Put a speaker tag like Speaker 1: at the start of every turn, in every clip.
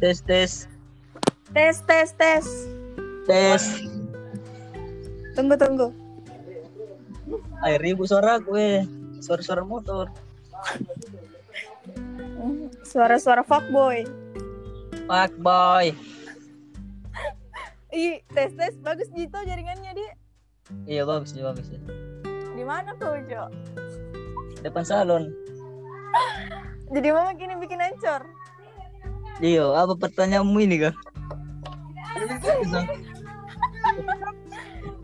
Speaker 1: tes tes
Speaker 2: Tes, tes, tes.
Speaker 1: tes.
Speaker 2: Tunggu, tunggu.
Speaker 1: Air ribu suara gue. Suara-suara motor.
Speaker 2: Hmm, Suara-suara fuckboy.
Speaker 1: Fuck boy.
Speaker 2: Ih, tes, tes. Bagus gitu jaringannya, Di.
Speaker 1: Iya bagus ya bagus ya.
Speaker 2: Di mana tuh, Jo?
Speaker 1: Depan salon.
Speaker 2: Jadi mama gini bikin ancur.
Speaker 1: Iya, apa pertanyaanmu ini kak?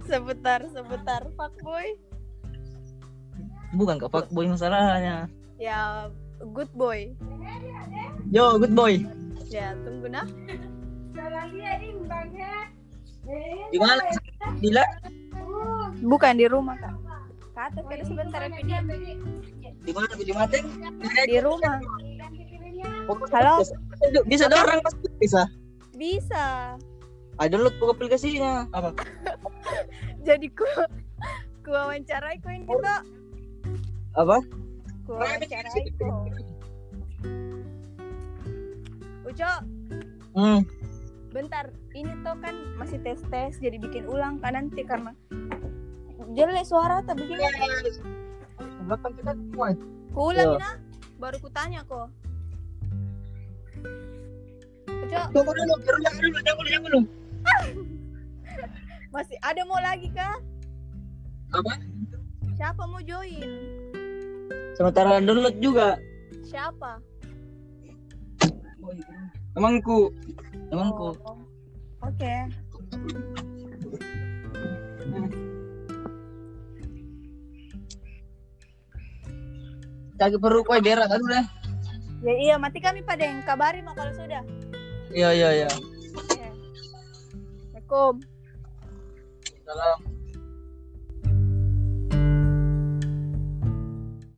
Speaker 2: Sebentar, sebentar. Fuckboy.
Speaker 1: Bukan kak fuck boy masalahnya.
Speaker 2: Ya, good boy.
Speaker 1: Yo, good boy.
Speaker 2: Ya, tunggu nah.
Speaker 1: Di mana? Bila?
Speaker 2: Bukan di rumah, Kak. Kata kira sebentar ya, Pidi.
Speaker 1: Di mana? Di mana?
Speaker 2: Di rumah. Halo?
Speaker 1: Halo. Bisa ada orang pasti bisa.
Speaker 2: Bisa.
Speaker 1: Ada load buka aplikasinya. Apa?
Speaker 2: Jadi ku ku wawancarai ku ini tuh.
Speaker 1: Apa?
Speaker 2: Ku wawancarai ku. Uco,
Speaker 1: Hmm.
Speaker 2: bentar. Ini tuh kan masih tes-tes jadi bikin ulang kan nanti karena jelek suara tapi begini.
Speaker 1: Belakang kita kuat.
Speaker 2: Ku
Speaker 1: Yo.
Speaker 2: ulang nah. Baru ku tanya kok. Uco,
Speaker 1: Tunggu dulu, jangan dulu, jangan dulu, jangan dulu.
Speaker 2: masih ada mau lagi kah?
Speaker 1: Apa?
Speaker 2: Siapa mau join?
Speaker 1: Sementara download juga.
Speaker 2: Siapa?
Speaker 1: Emangku, emangku.
Speaker 2: Oh. Oke.
Speaker 1: Kaki perut kue berak aduh dah.
Speaker 2: Ya iya, mati kami pada yang kabari mah kalau sudah.
Speaker 1: Iya iya iya.
Speaker 2: Oke. Assalamualaikum.
Speaker 1: Salam.